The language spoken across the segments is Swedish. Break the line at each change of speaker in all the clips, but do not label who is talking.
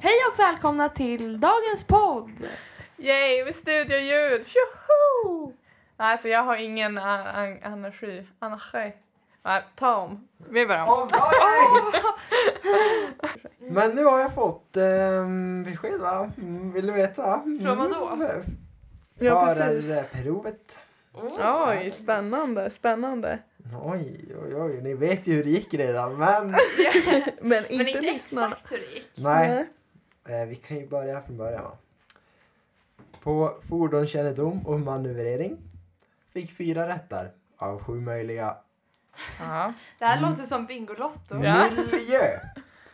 Hej och välkomna till dagens podd!
Yay, med studioljud! Tjoho! Nej, alltså jag har ingen an- an- energi. Energi. Nej, ta om. Vi börjar om.
Åh, vad är det? Men nu har jag fått ehm, besked va? Mm, Vill du veta?
Från vadå?
Mm.
Ja, precis.
Förarprovet.
Oh.
Oj, spännande, spännande.
Oj, oj, oj, ni vet ju hur det gick redan
Men
men
inte,
Men inte
lyssnarna.
exakt hur det gick.
nej,
Mm.
eh, vi kan ju börja från början va. På fordonskännedom och manövrering fick fyra rättar av sju möjliga.
Ja.
Det här
Mm.
låter som Bingolotto.
Ja.
Miljö,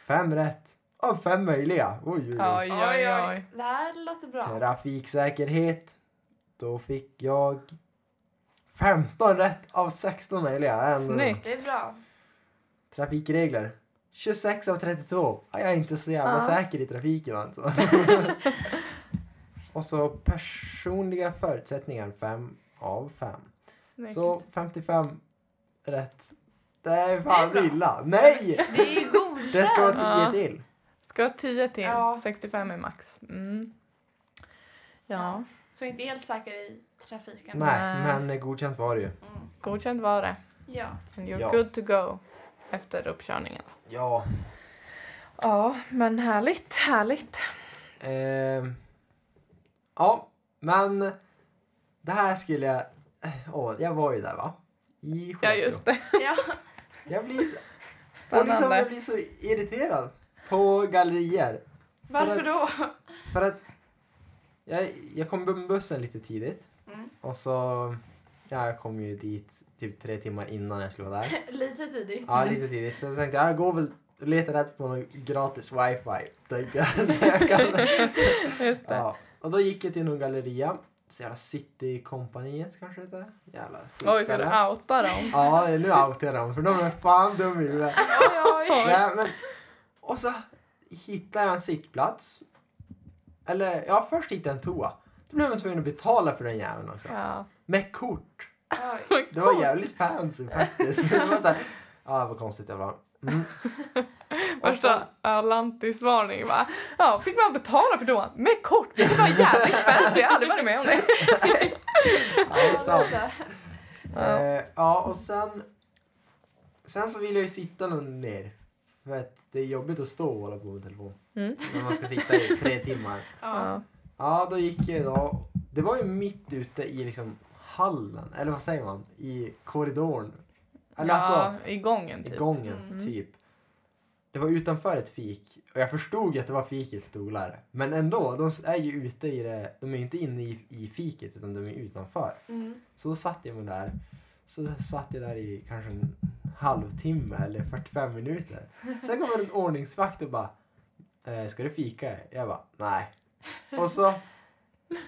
fem rätt av fem möjliga. Oj, oj, oj.
Oj, oj, oj.
Det här låter bra.
Trafiksäkerhet. Då fick jag 15 rätt av 16 möjliga. Ändå.
Snyggt.
Det är bra.
Trafikregler. 26 av 32. Ja, Jag är inte så jävla
Ja.
säker i trafiken alltså. Och så personliga förutsättningar 5 av 5.
Snyggt.
Så 55 rätt. Det är fan
Det är bra.
illa. Nej!
Det är ju godkänt.
Det ska vara
Ja.
10 till.
Ska ha 10 till.
Ja.
65 är max. Mm. Ja,
Så inte helt säker i trafiken.
Nej,
Nej.
men godkänt var det ju.
Mm.
godkänt var det.
Ja.
And you're
Ja.
good to go efter uppkörningen.
Ja.
Ja, men härligt, härligt.
Ehm, ja, men det här skulle jag... Åh, jag var ju där va? I
Ja,
Skellefteå.
just det.
ja.
Jag blir så, och liksom, jag
Spännande.
blir så irriterad på gallerier.
Varför då?
För att jag, jag kom med bussen lite tidigt.
Mm.
Och så... Ja, jag kom ju dit typ tre timmar innan jag skulle vara där.
Lite tidigt.
Ja, lite tidigt. Så jag tänkte jag går väl och letar rätt på någon gratis wifi. Tänkte jag. Så jag kan...
Just det.
Ja, och då gick jag till någon galleria. Så jävla Citykompaniet kanske det heter. Jävla
Oj, ska du outa dem?
Ja, nu outar jag dem för de är fan dum i huvudet.
Oj, oj.
Nej, men, och så hittade jag en sittplats. Eller ja, först hittade jag en toa. Då blev man tvungen att betala för den jäveln också.
Ja.
Med kort.
oj.
Det var jävligt fancy faktiskt. Det var så här, ja, vad konstigt det var. Mm. Och så,
Värsta Atlantis-varning va? Ja, fick man betala för då? Med kort! Det var jävligt fancy, jag har aldrig varit med om det.
ja, det är sant.
Vänta.
Ja.
Eh, ja, och sen... Sen så vill jag ju sitta någon ner. För att det är jobbigt att stå och hålla på med telefon.
Mm.
När man ska sitta i tre timmar.
Ja.
Ja.
Ja, då gick jag idag. Det var ju mitt ute i liksom hallen, eller vad säger man? I korridoren. Eller
ja,
alltså,
i gången
i
typ.
gången,
Mm.
typ. Det var utanför ett fik och jag förstod ju att det var fikets stolar. Men ändå, de är ju ute i det. De är ju inte inne i, i fiket utan de är utanför.
Mm.
Så då satt jag mig där. Så satt jag där i kanske en halvtimme eller 45 minuter. Sen kommer en ordningsvakt och bara eh, Ska du fika? Jag bara nej. Och så,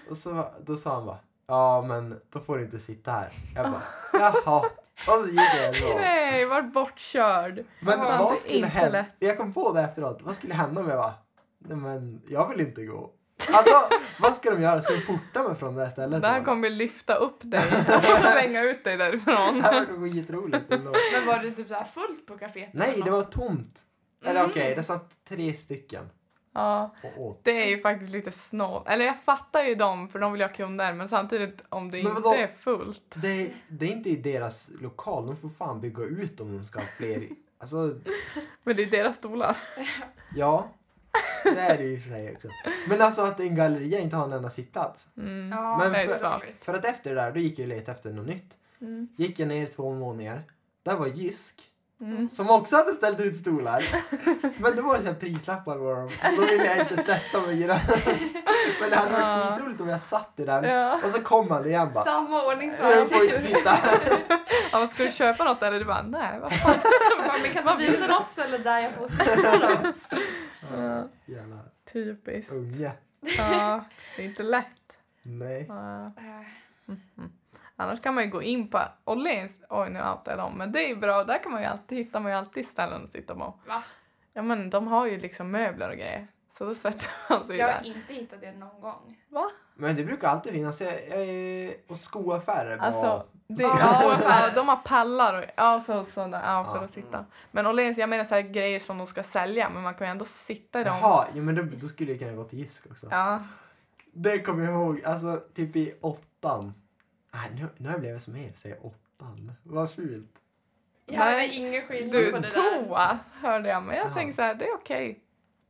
och så då sa han bara Ja men då får du inte sitta här. Jag bara jaha. Och så gick jag ändå.
Nej, vart bortkörd.
Men
det var
vad skulle
inte lätt.
hända? Jag kom på det efteråt. Vad skulle hända om jag bara Nej men jag vill inte gå. Alltså vad ska de göra? Ska de porta mig från det här stället?
Det här
då?
kommer lyfta upp dig och slänga ut dig därifrån.
Det här var skitroligt ändå.
Men var det typ så här fullt på kaféet?
Nej,
eller
det
något?
var tomt. Eller
Mm.
okej, det satt tre stycken
Ja,
och åt.
det är ju faktiskt lite snålt. Eller jag fattar ju dem för de vill ju ha kunder men samtidigt om det
Men
inte
vadå?
är fullt.
Det, det är inte i deras lokal. De får fan bygga ut om de ska ha fler. Alltså,
Men det är deras stolar.
ja. Det är det ju för sig också. Men alltså att en galleria inte har en enda sittplats.
Mm.
Ja,
Men
det
för-
är svagt.
För att efter det där, då gick jag och letade efter något nytt.
Mm.
Gick jag ner två våningar. Där var Jysk.
Mm.
Som också hade ställt ut stolar. Men då var det så här prislappar på dem. Och Då ville jag inte sätta mig i den. Men det hade varit
Ja.
skitroligt om jag satt i den.
Ja.
Och så kom han igen bara.
Samma
Jag
ordningsvakt.
får inte sitta här.
ja, men ska du köpa något eller? Du bara nej, vad
Bara, Men kan man visa något ställe där jag får sitta då?
Ja.
Jävla
Typiskt.
unge.
Ja, det är inte lätt.
Nej.
Ja.
Eh,
Mhm. Annars kan man ju gå in på Åhléns, oj nu outade jag dem, men det är ju bra, där kan man ju alltid, hittar man ju alltid ställen att sitta på.
Va?
Ja men de har ju liksom möbler och grejer. Så då sätter han sig
Jag har
där.
inte hittat det någon gång.
Men det brukar alltid finnas. Jag, jag, är- och skoaffärer bara.
Alltså, det,
Ja.
ja, ja, de har pallar och ja, så, så, där, ja, för
Ja.
att sitta. Men Åhléns, jag menar så här grejer som de ska sälja men man kan ju ändå sitta i dem.
Jaha, ja, men då, då skulle jag kunna gå till Jysk också.
Ja.
Det kommer jag ihåg, alltså typ i åttan. Nej, nu, nu har jag blivit som er, säger åttan. Vad fult.
Jag hade
Nej.
ingen skillnad på
Du,
det där.
toa hörde jag men jag
Ja.
tänkte så här, det är okej.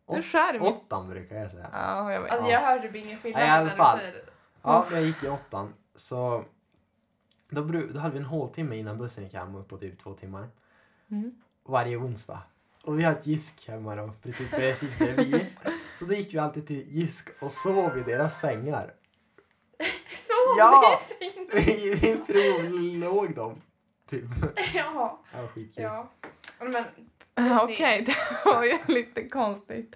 Du
Åt-
skär mitt...
Åttan brukar jag säga.
Ja, jag vet.
Alltså jag hör typ ingen skillnad
Nej, i alla
när
fall.
du säger det.
Ja, jag gick i åttan. Så då, bru- då hade vi en håltimme innan bussen gick hem upp på typ två timmar.
Mm.
Varje onsdag. Och vi hade ett Jysk hemma då, precis, precis bredvid. Så då gick vi alltid till Jysk och sov i deras sängar.
Så
Ja.
det är synd.
Vi, vi provlåg dem. Typ.
Ja.
Det var skitkul.
ja. Men
Ja, Okej, det var ju lite konstigt.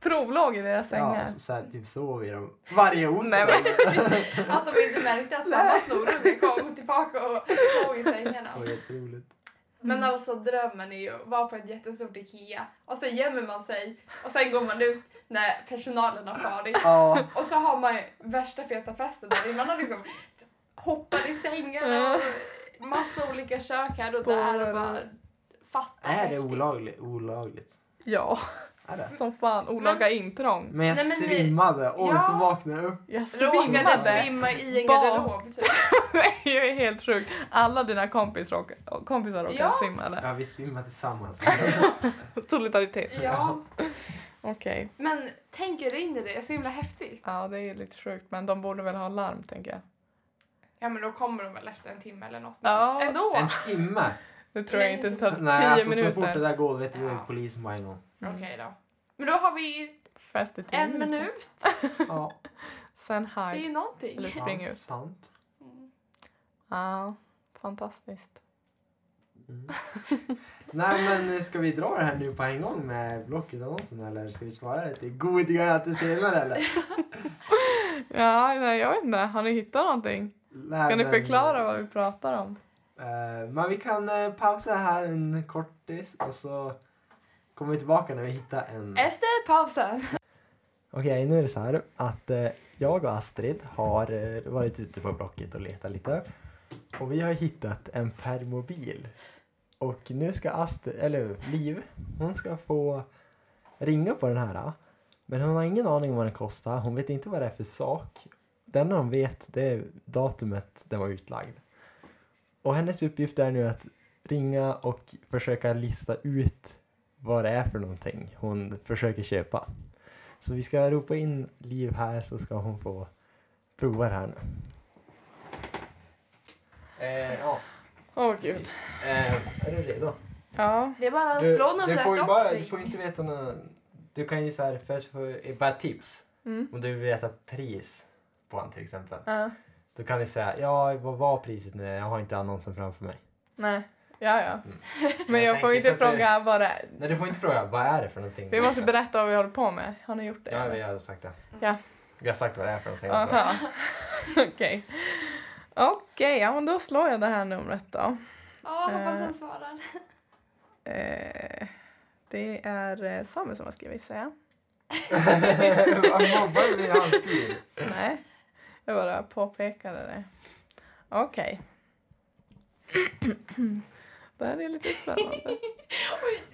Provlåg i deras sängar.
Ja, så, så här, typ sov vi dem varje onsdag.
Nej,
att de inte märkte att samma
Nej.
snorunge kom tillbaka och låg i sängarna.
Det var jätteroligt.
Men alltså drömmen är ju att vara på ett jättestort IKEA och sen gömmer man sig och sen går man ut när personalen har farit.
Ja.
Och så har man ju värsta feta festen där man har liksom hoppat i sängarna och massa olika kök här och där och bara fattar
Är det olagligt? olagligt?
Ja,
Är det?
som fan. Olaga intrång.
Men jag
Nej, men nu-
svimmade och
Ja.
så vaknade jag upp.
Jag
Råkade
svimmade.
svimma i en
Bak.
garderob typ.
Det är ju helt sjukt. Alla dina kompis råk- kompisar råkade
Ja.
svimma eller?
Ja, vi svimmade tillsammans.
Solidaritet.
Ja,
Okej.
men tänk er in i det, så himla häftigt.
Ja, det är ju lite sjukt men de borde väl ha larm tänker jag.
Ja men då kommer de väl efter en timme eller något.
Ja.
Ändå!
en timme?
Det tror jag
Men
inte
inte-
tar tio
Nej, alltså
minuter.
så fort det där går vet du
Ja.
polisen var igång.
Okej
Mm.
då. Men då har vi
Fast i tio
en
minuter.
minut.
Ja,
Sen
Det är ju
hide.
någonting.
Eller-
sant,
Spring ut.
Sant.
Mm.
Ja, fantastiskt.
Mm. Nej men eh, ska vi dra det här nu på en gång med Blocket-annonsen eller ska vi spara det till god grann till senare eller?
Ja, nej, jag vet inte. Har ni hittat någonting?
Nej,
Kan ni
men,
förklara vad vi pratar om?
eh, men vi kan eh, pausa här en kortis och så kommer vi tillbaka när vi hittar en...
Efter pausen.
Okej, nu är det så här att eh, jag och Astrid har eh, varit ute på Blocket och letat lite. Och vi har hittat en permobil. Och nu ska Astrid, eller Liv, hon ska få ringa på den här. Men hon har ingen aning om vad den kostar. Hon vet inte vad det är för sak. Det enda hon vet det är datumet den var utlagd. Och hennes uppgift är nu att ringa och försöka lista ut vad det är för någonting hon försöker köpa. Så vi ska ropa in Liv här så ska hon få prova det här nu. Eh, ja,
Åh gud.
precis. Eh, är du redo?
Ja.
Det är bara att
Du,
slå numret
du får ju
och
bara,
ring.
du får inte veta några, Du kan ju så här, först få, eh, bara tips.
Mm.
Om du vill veta pris på en till exempel.
ja.
Då kan du säga, ja vad var priset nu? Jag har inte annonsen framför mig.
Nej. Ja, ja.
Så
Men jag
tänker
får
så
inte
att du-
fråga vad det är.
Nej du får inte fråga, vad är det för någonting?
Vi måste berätta vad vi håller på med. Har ni gjort det?
Ja
eller?
vi har sagt det.
Ja.
Vi har sagt vad det alltså. är för någonting. också.
Aha. Okej. Okej, ja men då slår jag det här numret då.
Ja, hoppas
Eh.
den svarar.
Eh, det är eh, Samuel som har skrivit säger jag.
Vad mobbar vi hans stil?
Nej, jag bara påpekade det. Okej. det här är lite spännande. Eh.
Oj.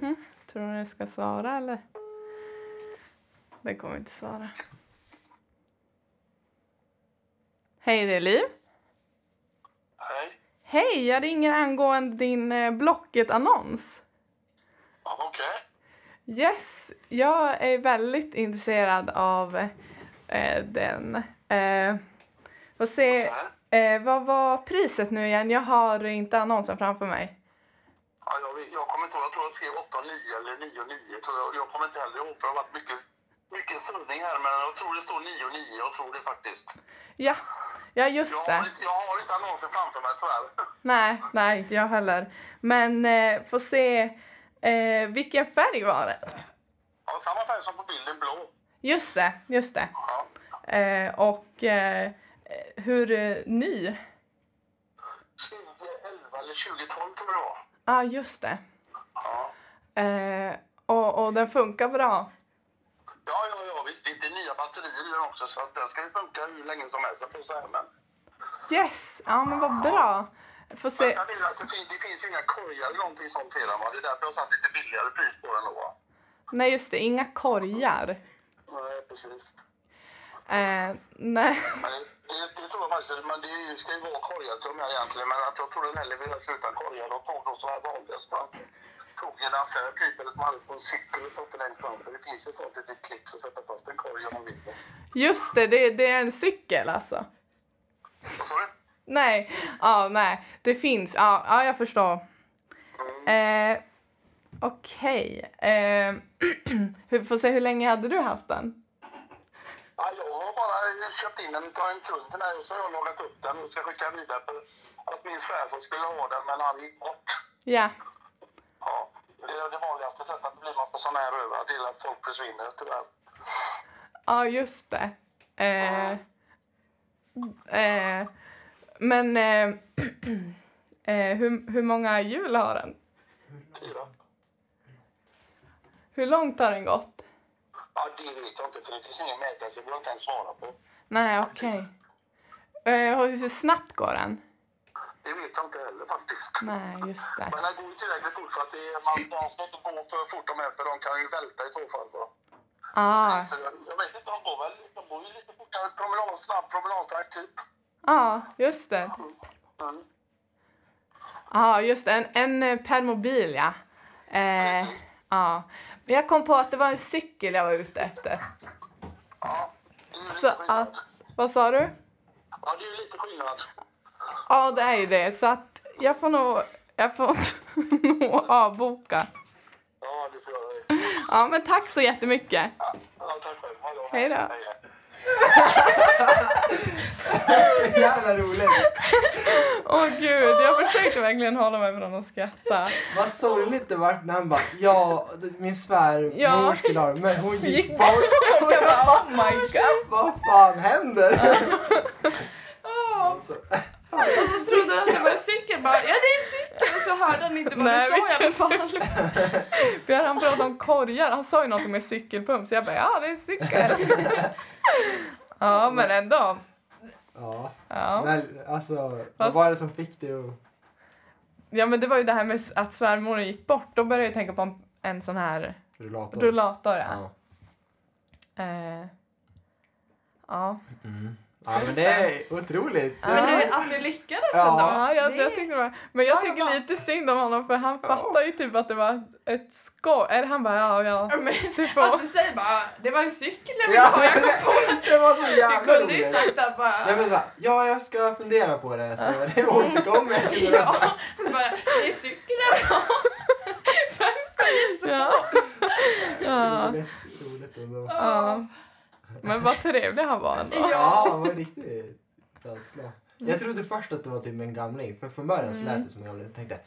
Mhm. Tror du jag ska svara eller? Det kommer inte svara. Hej, det är Liv.
Hej.
Hej, jag ringer angående din eh, Blocket-annons.
Ja, Okej.
Yes, jag är väldigt intresserad av eh, den. Eh, får se,
Ja.
eh, vad var priset nu igen? Jag har inte annonsen framför mig.
Ja, jag, vet- jag kommer inte ihåg. Jag tror jag skrev 8-9 eller 9-9. tror Jag, jag kommer inte heller ihåg. för Det har varit mycket, mycket sanning här. Men jag tror det står 9-9. Jag tror det faktiskt.
Ja, ja
Jag
just
har
det.
inte, jag har inte annonsen framför mig tyvärr.
Nej, nej, inte jag heller. Men eh, får se, eh, vilken färg var det?
Ja, samma färg som på bilden, blå.
Just det, just det.
Ja.
Eh, och eh, hur eh, ny? Ja,
2011 eller 2012 tror jag det var.
ah, just det.
Ja.
Eh, och, och den funkar bra.
Ja, ja, ja, visst, visst. Det är nya batterier i den också så att den ska ju funka hur länge som helst. Jag får säga, men
Yes! Ja, men vad bra. Får
men
se.
sen är det, att det, finns, det finns ju inga korgar eller någonting sånt i den va. Det är därför jag har satt lite billigare pris på den då va.
Nej, just det. Inga korgar.
Nej, precis.
Eh, nej.
Men det, det, det tror jag faktiskt, men det är ju- ska ju vara korgar till de här egentligen. Men att jag tror den hellre vill ha utan korgar. De tog de som var vanligast. Man tog en affär typ eller som hade på en cykel och satte längst fram. För det finns ju ett sånt litet klipp som sätter fast en korg genom vinden.
Just det, det, det är en cykel alltså.
Vad sa du?
Nej, ja, nej. Det finns. Ja, ja jag förstår.
Mm.
Eh, Okej. Eh, hur- får se, hur länge hade du haft den?
Ja, jag har bara köpt in den av en kund till mig och så har jag lagat upp den och ska skicka vidare. För att min svärfar skulle ha den men han gick bort.
Ja.
Ja, det är det vanligaste sättet att det blir massa sådana här över. Det är att folk försvinner tyvärr.
Ja, just det. Eh, eh, men eh, eh, hur, hur många hjul har den?
Fyra.
Hur långt har den gått?
Ja, det vet jag inte för det finns ingen mätare så det går inte ens svara på.
Nej, okej. Eh, och hur snabbt går den?
Det vet jag inte heller faktiskt.
Nej, just det.
Men det går ju tillräckligt fort för att det är, man, de ska inte gå för fort de här för de kan ju välta i så fall. Va?
Ja,
Så jag, jag vet inte, de går väl de går ju lite fortare. Promenad, snabb promenadtakt typ.
ja, ah, just det.
Mm.
Ja, just det. En, en permobil, ja. Eh, ja. Men jag kom på att det var en cykel jag var ute efter.
Ja, det är ju
Så
lite skillnad.
att, vad sa du?
Ja, det är ju lite skillnad.
Ja, det är ju det. Så att jag får nog, jag får nog avboka.
Ja, du får göra det.
Ja, men tack så jättemycket.
Ja, ja, tack själv. Hej då.
Hej då.
hej.
Jävla roligt!
Åh gud, jag försökte verkligen hålla mig från att skratta.
Vad sorgligt det vart när han bara ja, min svärmor
Ja.
skulle ha den, men hon gick
Gick
bort.
Jag bara, oh my god.
Vad fan händer? Alltså,
Åh,
Så,
Och så trodde han att det var en cykel bara, ja det är en cykel! Och så hörde han inte vad
Nej,
du sa i alla
vilken-
fall.
För han pratade om korgar, han sa ju något om en cykelpump så jag bara, ja det är en cykel. Ja, men ändå.
ja.
Ja.
Nej, alltså, vad
Fast-
var det som fick dig att...
ja, men det var ju det här med att svärmor gick bort. Då började jag tänka på en, en sån här
Rullator?
rullator. Ja.
Ja.
Eh, ja.
Mm. ja, men det är otroligt.
Ja.
Men du, att du lyckades
Ja.
ändå.
Ja, jag,
det
jag tyckte det var, men jag
Ja, jag
tycker
bara-
lite synd om honom för han
Ja.
fattar ju typ att det var ett skoj. Eller han bara ja, ja.
Ja, men
Du
Att
får.
du säger bara, det var en cykel jag ville
Ja,
ha.
men
Jag
det, det var så
kom-
jävla
Du kunde ju
roligt.
sagt att bara...
Nej men såhär, ja jag ska fundera på det så det återkommer. kunde du ha sagt.
Ja, bara, det är cykel jag vill ha. Vem ska ge så?
Ja. ja.
Roligt, roligt ändå.
ja. Men vad trevlig han var ändå.
Ja, han var riktigt dansglad. Jag trodde först att det var typ en gamling, för från början så lät det som en gamling. Jag tänkte,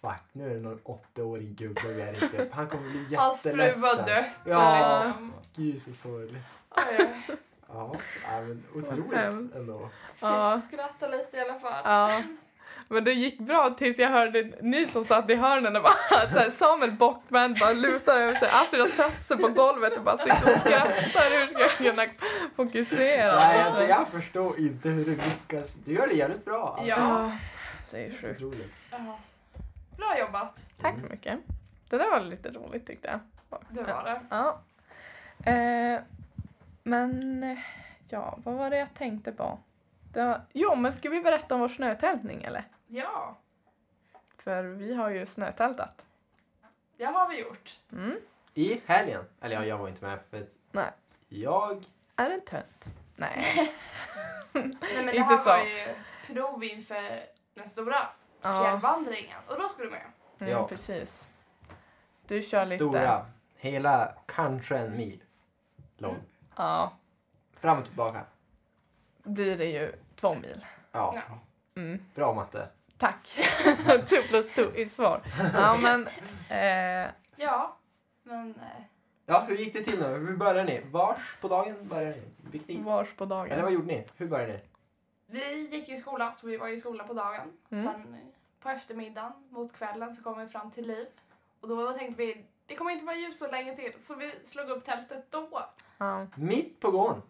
fuck nu är det någon 80-årig gubbe vi har ringt upp. Han kommer bli jätteledsen.
Hans fru var dött.
Ja,
Liksom.
gud så sorgligt.
Oj, oj.
Ja, nej, men otroligt
hemskt.
ändå.
Ja.
Skratta lite i alla fall.
ja. Men det gick bra tills jag hörde ni som satt i hörnen och bara så här, Samuel bortvänd bara lutar över sig. Astrid har satt sig på golvet och bara sitter och skrattar. Hur ska jag kunna fokusera?
Nej, alltså jag förstår inte hur du lyckas. Du gör det jävligt bra. Alltså.
Ja.
Ja. Det är sjukt.
Otroligt.
Ja. Bra jobbat.
Tack så mycket. Det där var lite roligt tyckte jag.
Det var det.
Ja. Eh, men eh, ja, vad var det jag tänkte på? Det var, jo, men ska vi berätta om vår snötältning eller?
Ja,
För vi har ju snötältat.
det har vi gjort.
Mm.
I helgen, eller ja, jag var inte med för att
Nej.
jag...
Är det en tönt? Nej.
Nej, men det
Inte
här
så.
var ju prov inför den stora
Ja,
fjällvandringen. Och då ska du med.
mm,
Ja.
precis. Du kör lite.
Stora, hela kanske en mil lång.
Mm.
Ja,
Fram och tillbaka.
blir det ju två mil.
Ja,
Ja.
Mm.
bra matte.
Tack. two plus two is four. Ja, men eh,
Ja, men eh,
Ja, hur gick det till nu? Hur började ni? Vars på dagen började ni? Fick ni?
Vars på
Eller vad
dagen.
gjorde ni? Hur började ni?
Vi gick ju i skolan, så vi var i skolan på dagen.
Mm.
Sen eh, på eftermiddagen mot kvällen så kom vi fram till liv. Och då tänkte vi, det kommer inte vara ljus så länge till. Så vi slog upp tältet då.
Ja.
Mitt på gården?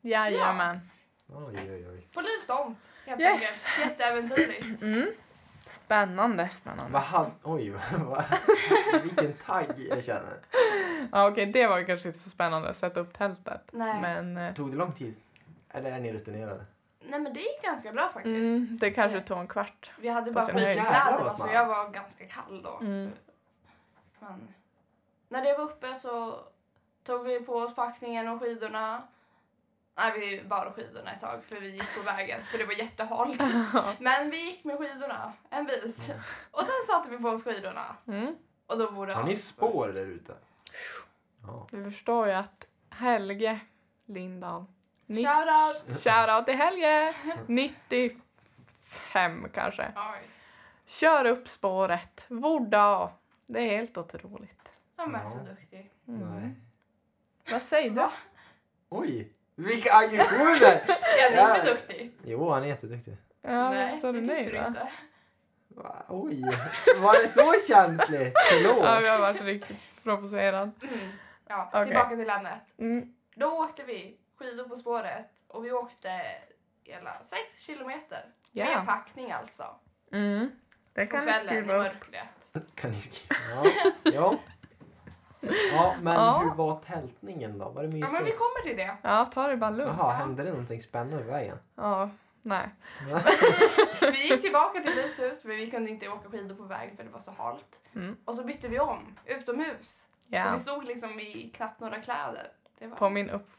Jajamän.
Oj, oj, oj.
På livs tomt helt
Yes.
enkelt. Jätteäventyrligt.
Mm. Spännande, spännande.
Vad hade... Oj, vad- vad... Vilken tagg jag känner.
Ja, okej, det var ju kanske inte så spännande att sätta upp tältet.
Nej.
Men eh,
Tog det lång tid? Eller är ni rutinerade?
Nej men det gick ganska bra faktiskt.
mm, det kanske tog en kvart.
Vi hade bara
Fast jag-
Jävlar
skitkläderna
vad
så
smart.
jag var ganska kall då.
Mm.
Men när det var uppe så tog vi på oss packningen och skidorna. Nej, vi bar skidorna ett tag för vi gick på vägen för det var jättehalt. Men vi gick med skidorna en bit och sen satte vi på oss skidorna
Mm.
och då borde
Har ni spår där ute? Ja.
Du förstår ju att Helge Lindahl, ni-
Shoutout!
shoutout till Helge, 95 kanske,
Oj.
kör upp spåret. Vorda. Det är helt otroligt.
Han är så
Ja.
duktig.
Mm.
Nej.
Vad säger du?
Va?
Oj! Vilka aggressioner!
Jag är inte
Ja.
duktig.
Jo, han är jätteduktig.
Ja,
Nej,
vad sa
det
du
tyckte
nej
du
då?
inte.
Va? Oj! Var det så känsligt?
Ja,
Förlåt.
jag har varit riktigt provocerad.
Mm. Ja,
Okej.
tillbaka till ämnet.
Mm.
Då åkte vi skidor på spåret och vi åkte hela 6 kilometer. Med
Ja.
packning alltså.
Mm. Det
På
kan vi
kvällen i
skriva upp.
mörkret.
Kan ni skriva? Ja. ja. Ja, men
Ja.
hur var tältningen då? Var det
Ja
mysigt?
men vi kommer till det.
Ja, ta det bara lugnt.
Jaha, hände det någonting spännande på vägen?
Ja, nej.
Vi gick tillbaka till Livs hus men vi kunde inte åka skidor på vägen för det var så halt.
Mm.
Och så bytte vi om utomhus. Så
Ja.
vi stod liksom i knappt några kläder. Det var...
På min upp...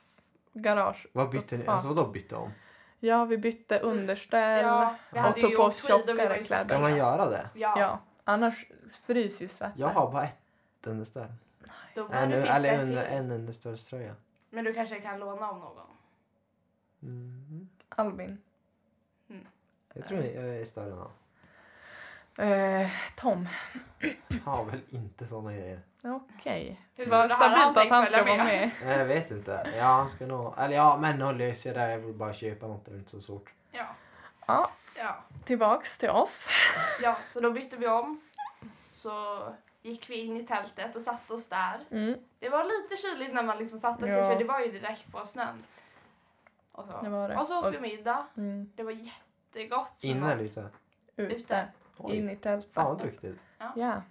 garage.
Vad bytte ni?
Fan.
Alltså vadå bytte om?
Ja, vi bytte underställ.
Ja, vi
och
hade
tog
ju
på
åkt
oss
skidor, vi
tjockare
var ju så
kläder.
Kan
snälla.
man göra det?
Ja,
Ja, annars fryser ju svetten.
Jag har bara ett underställ.
då borde
En,
du fixa
eller
ett
en,
till.
en underställströja.
Men du kanske kan låna av någon.
Mm.
Albin.
Jag tror jag är större än han.
Eh, Tom.
Har väl inte såna grejer.
Okej.
Hur
Vad
då hade
stabilt att
tänkt
han ska
följa
vara med.
Nej, Jag vet inte. Ja, han ska nog... Eller ja, men nog löser jag det. Jag vill bara köpa något. Det är inte så svårt.
Ja.
Ja,
Ja.
tillbaks till oss.
ja, så då bytte vi om. Så gick vi in i tältet och satte oss där.
Mm.
Det var lite kyligt när man liksom satte sig
Ja.
för det var ju direkt på snön. Och så,
Det var det.
Och så åt
Och-
vi middag.
Mm.
Det var jättegott. med
Inne liksom.
mat.
lite.
Ute.
Ute.
In
Oj,
i tältet.
fan vad duktigt.
Ja.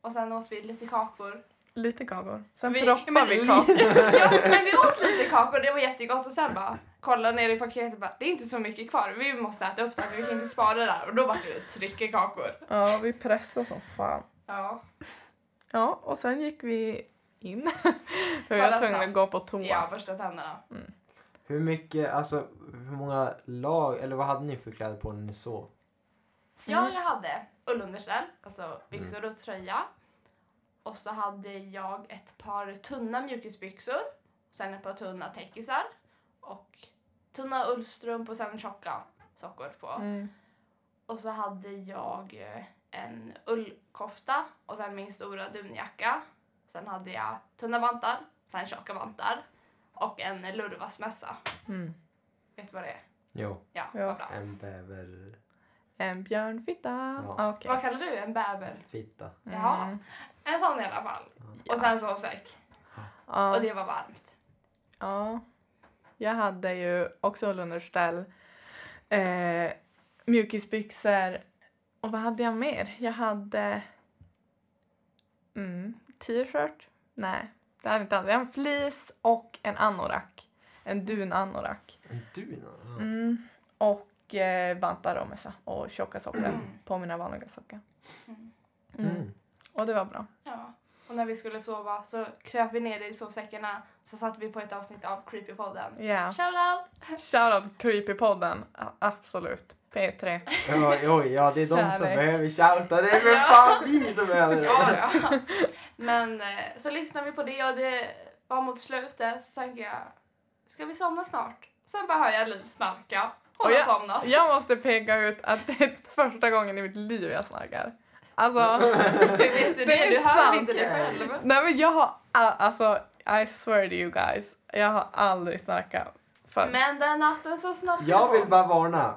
Och sen åt vi lite kakor.
Lite kakor. Sen
Vi-
proppar
men-
vi kakor.
ja, men vi åt lite kakor, det var jättegott. Och sen bara kolla ner i paketet bara, det är inte så mycket kvar. Vi måste äta upp det här för vi kan inte spara det där. Och då var det ju trycker kakor.
Ja, vi pressar som fan.
Ja,
Ja, och sen gick vi in. För
Bara
jag var tvungen att
snabbt.
gå på toa.
ja borsta tänderna.
Hur mycket, alltså hur många lag, eller vad hade ni för kläder på när ni sov?
Ja,
Mm.
jag hade ullunderställ, alltså byxor och tröja. Och så hade jag ett par tunna mjukisbyxor. Sen ett par tunna täckisar. Och tunna ullstrumpor och sen tjocka sockor på.
Mm.
Och så hade jag eh, en ullkofta och sen min stora dunjacka. Sen hade jag tunna vantar, sen tjocka vantar och en lurvasmössa.
Mm.
Vet du vad det är?
Jo,
Ja,
Ja.
vad bra.
en bäverfitta.
En björnfitta. Ah,
Ja.
Okej.
Vad kallar du en bäver? Jaha.
Mm.
En sån i alla fall.
Ja.
Och sen sovsäck.
Ja.
Och det var varmt.
Ja. Jag hade ju också ullunderställ, eh, mjukisbyxor och vad hade jag mer? Jag hade mm, t-shirt. Nej, det hade jag inte alls. Jag hade en fleece och en anorak. En dunanorak.
En duna? Ja.
Mm. Och eh, vantar och mössa och tjocka sockor
Mm.
på mina vanliga sockor.
Mm.
Mm.
Mm.
Och det var bra.
Ja. Och när vi skulle sova så kröp vi ner i sovsäckarna så satte vi på ett avsnitt av Creepypodden.
Yeah.
Shoutout!
Shoutout Creepypodden. A- Absolut. P3.
Oj, oj, ja det är de som
Kärlek.
behöver shouta. Det är för fan vi som behöver
Ja,
det.
ja. Men eh, så lyssnade vi på det och det var mot slutet så tänkte jag, ska vi somna snart? Sen bara hör jag Liv snarka. Hon
Och
har somnat.
Jag måste peka ut att det är första gången i mitt liv jag snarkar. Alltså,
Du vet inte
Det
det,
är
du hör
sant.
inte det själv.
nej men jag har, a- alltså I swear to you guys, jag har aldrig snarkat förr.
Men den natten så snabbt
Jag vill bara varna.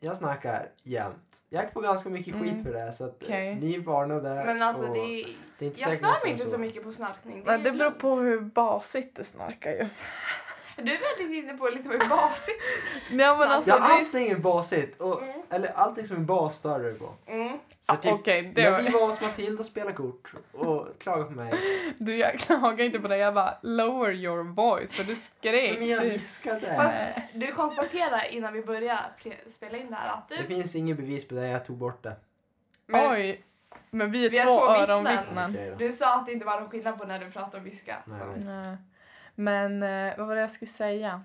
Jag snackar jämt. Jag får ganska mycket skit
Mm.
för det så att eh,
Okej.
ni är varnade.
Men alltså
och
det är...
det är inte
Jag
säkert
stör
ni
mig
får
inte så mycket på snarkning.
Nej,
är
det beror
lugnt.
på hur basigt du snarkar ju.
Du är väldigt inne på lite mer basigt.
Nej men alltså,
Ja,
det är...
allting är basigt. Och,
Mm.
Eller allting som är bas stör du på.
Mm.
Så
Ah,
typ,
Okej, det
när vi
var...
var hos Matilda och spelade kort och klagade på mig.
du jag klagar inte på det, jag bara lower your voice för du skrek. typ,
Men jag
Du-
viskade.
Fast
Eh.
du konstaterar innan vi börjar pre- spela in det här att
Det
du...
finns inget bevis på det, jag tog bort det.
Men
Oj, men vi är
Vi har
två,
två vittnen.
öronvittnen.
Okej då.
Du sa att det inte var någon skillnad på när du pratade om viska.
Nej,
så.
nej.
Nej. Men eh, vad var det jag skulle säga?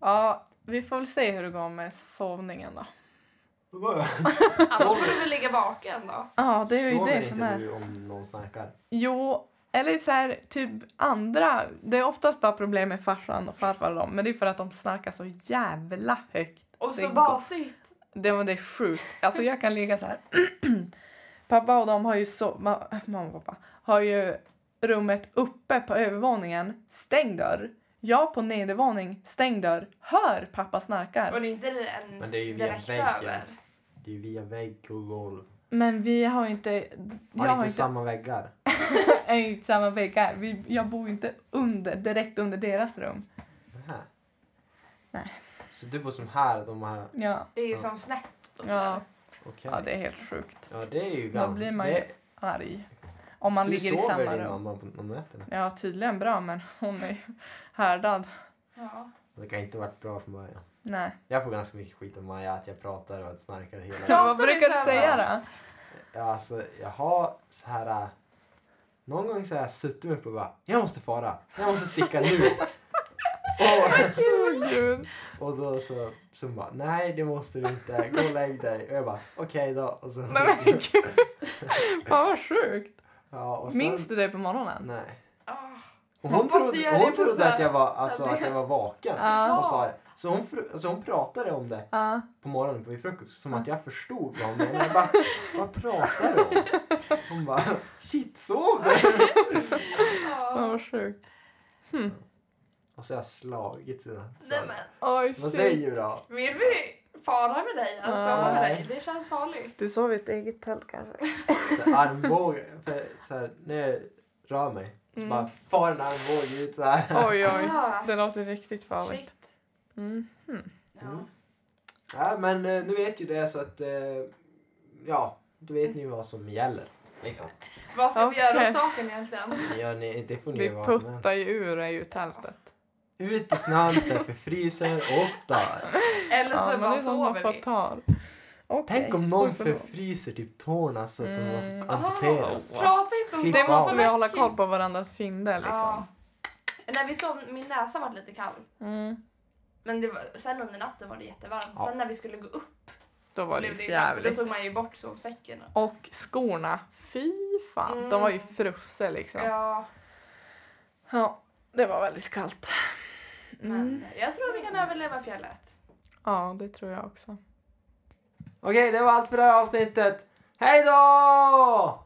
Ja, vi får väl se hur det går med sovningen då.
Då var jag-
Annars får du väl ligga baken då.
Ja, det är ju
Sover
det som
inte
är.
du om någon snarkar?
Jo, eller så här, typ andra. Det är oftast bara problem med farsan och farfar och dem. Men det är för att de snarkar så jävla högt.
Och så
Det går.
basigt.
Det, men det är sjukt. Alltså jag kan ligga så här. pappa och de har ju so- ma- mamma och pappa har ju rummet uppe på övervåningen, stängd dörr. Jag på nedervåning, stängd dörr, hör pappa snarkar.
Och det är inte ens
Men det är ju via
direkt
väggen.
över.
Det är ju via vägg och golv.
Men vi har ju inte...
Har
Jag
ni
har
inte
inte,
samma väggar?
är inte samma väggar. Vi, jag bor ju inte under, direkt under deras rum.
Nähä.
Nej.
Så du bor som här och de här?
Ja,
Det är ju
Ja.
som snett. under.
ja,
Okej.
ja det är helt sjukt.
Ja, det är ju
Då
gammalt.
blir man ju-
det...
Arg. Om man
Hur
ligger i
sover
samma
din
rum.
mamma på, om nätterna?
Ja, tydligen bra men hon är ju härdad.
Ja.
Det kan inte ha varit bra för Maja.
Nej.
Jag får ganska mycket skit av Maja att jag pratar och snarkar hela
Ja.
ja.
Vad brukar du säga då?
Alltså, jag har så här... äh, Någon gång så har jag suttit mig på och bara, jag måste fara, jag måste sticka nu. och,
Åh gud.
och då så, så hon bara, nej det måste du inte, gå och lägg dig. Och jag bara, okej då. Och sen,
Nej men gud. Fan vad sjukt.
ja, och sen,
Minns du det på morgonen?
Nej.
Ah.
Och
Man
hon
måste
trodde,
göra
hon
det på
trodde
så-
att, jag var, alltså, att jag var vaken.
Ja.
Och sa, det. så hon, fr- alltså, hon pratade om det
Ja.
på morgonen på vid frukost som att jag förstod vad hon menade. Jag bara, vad pratar du om? Hon bara, shit sov du?
Fan
Ja.
vad sjukt.
Och så har jag slagit henne. Så-
Nej men,
Oj
Fast det är
shit.
ju bra.
vill vi fara med dig? Alltså,
Ja.
med dig? Det känns farligt.
Du sov i ett eget tält kanske?
Så här, armbåge. För, så här, när jag rör mig så
Mm.
bara far en armbåge ut så här.
Oj oj.
Ah,
Det låter riktigt farligt.
shit.
Mm.
Ja.
Mm. Ja, men eh, nu vet ju det så att eh, ja, då vet ni vad som gäller. Liksom.
Vad ska vi göra
Okej.
åt saken egentligen?
Gör ni, det får ni
Vi
göra vad som helst.
puttar ju ur är ju tältet.
Ut i snön så jag förfryser och dör.
Eller så
Ja men det
bara
är som man
sover
får
vi.
ta. Okej.
Tänk om någon
Oj, förlåt.
förfryser typ tårna så att de
Mm.
måste amputeras.
Åh.
Prata inte om
Klipp
Det
sånt,
måste
vad
vi hålla
läskigt.
koll på varandras kinder liksom.
Ja. När vi sov, min näsa var lite kall.
Mm.
Men det var, sen under natten var det jättevarmt.
Ja.
Sen när vi skulle gå upp
Då var det
blev
ju
det jävligt. Då
jävligt.
tog man ju bort sovsäcken. och-
Och skorna, fy fan.
Mm.
De var ju frusse liksom.
Ja,
Ja, det var väldigt kallt.
men
Mm.
jag tror vi kan överleva fjället.
Ja, det tror jag också.
Okej, det var allt för det här avsnittet. Hej då!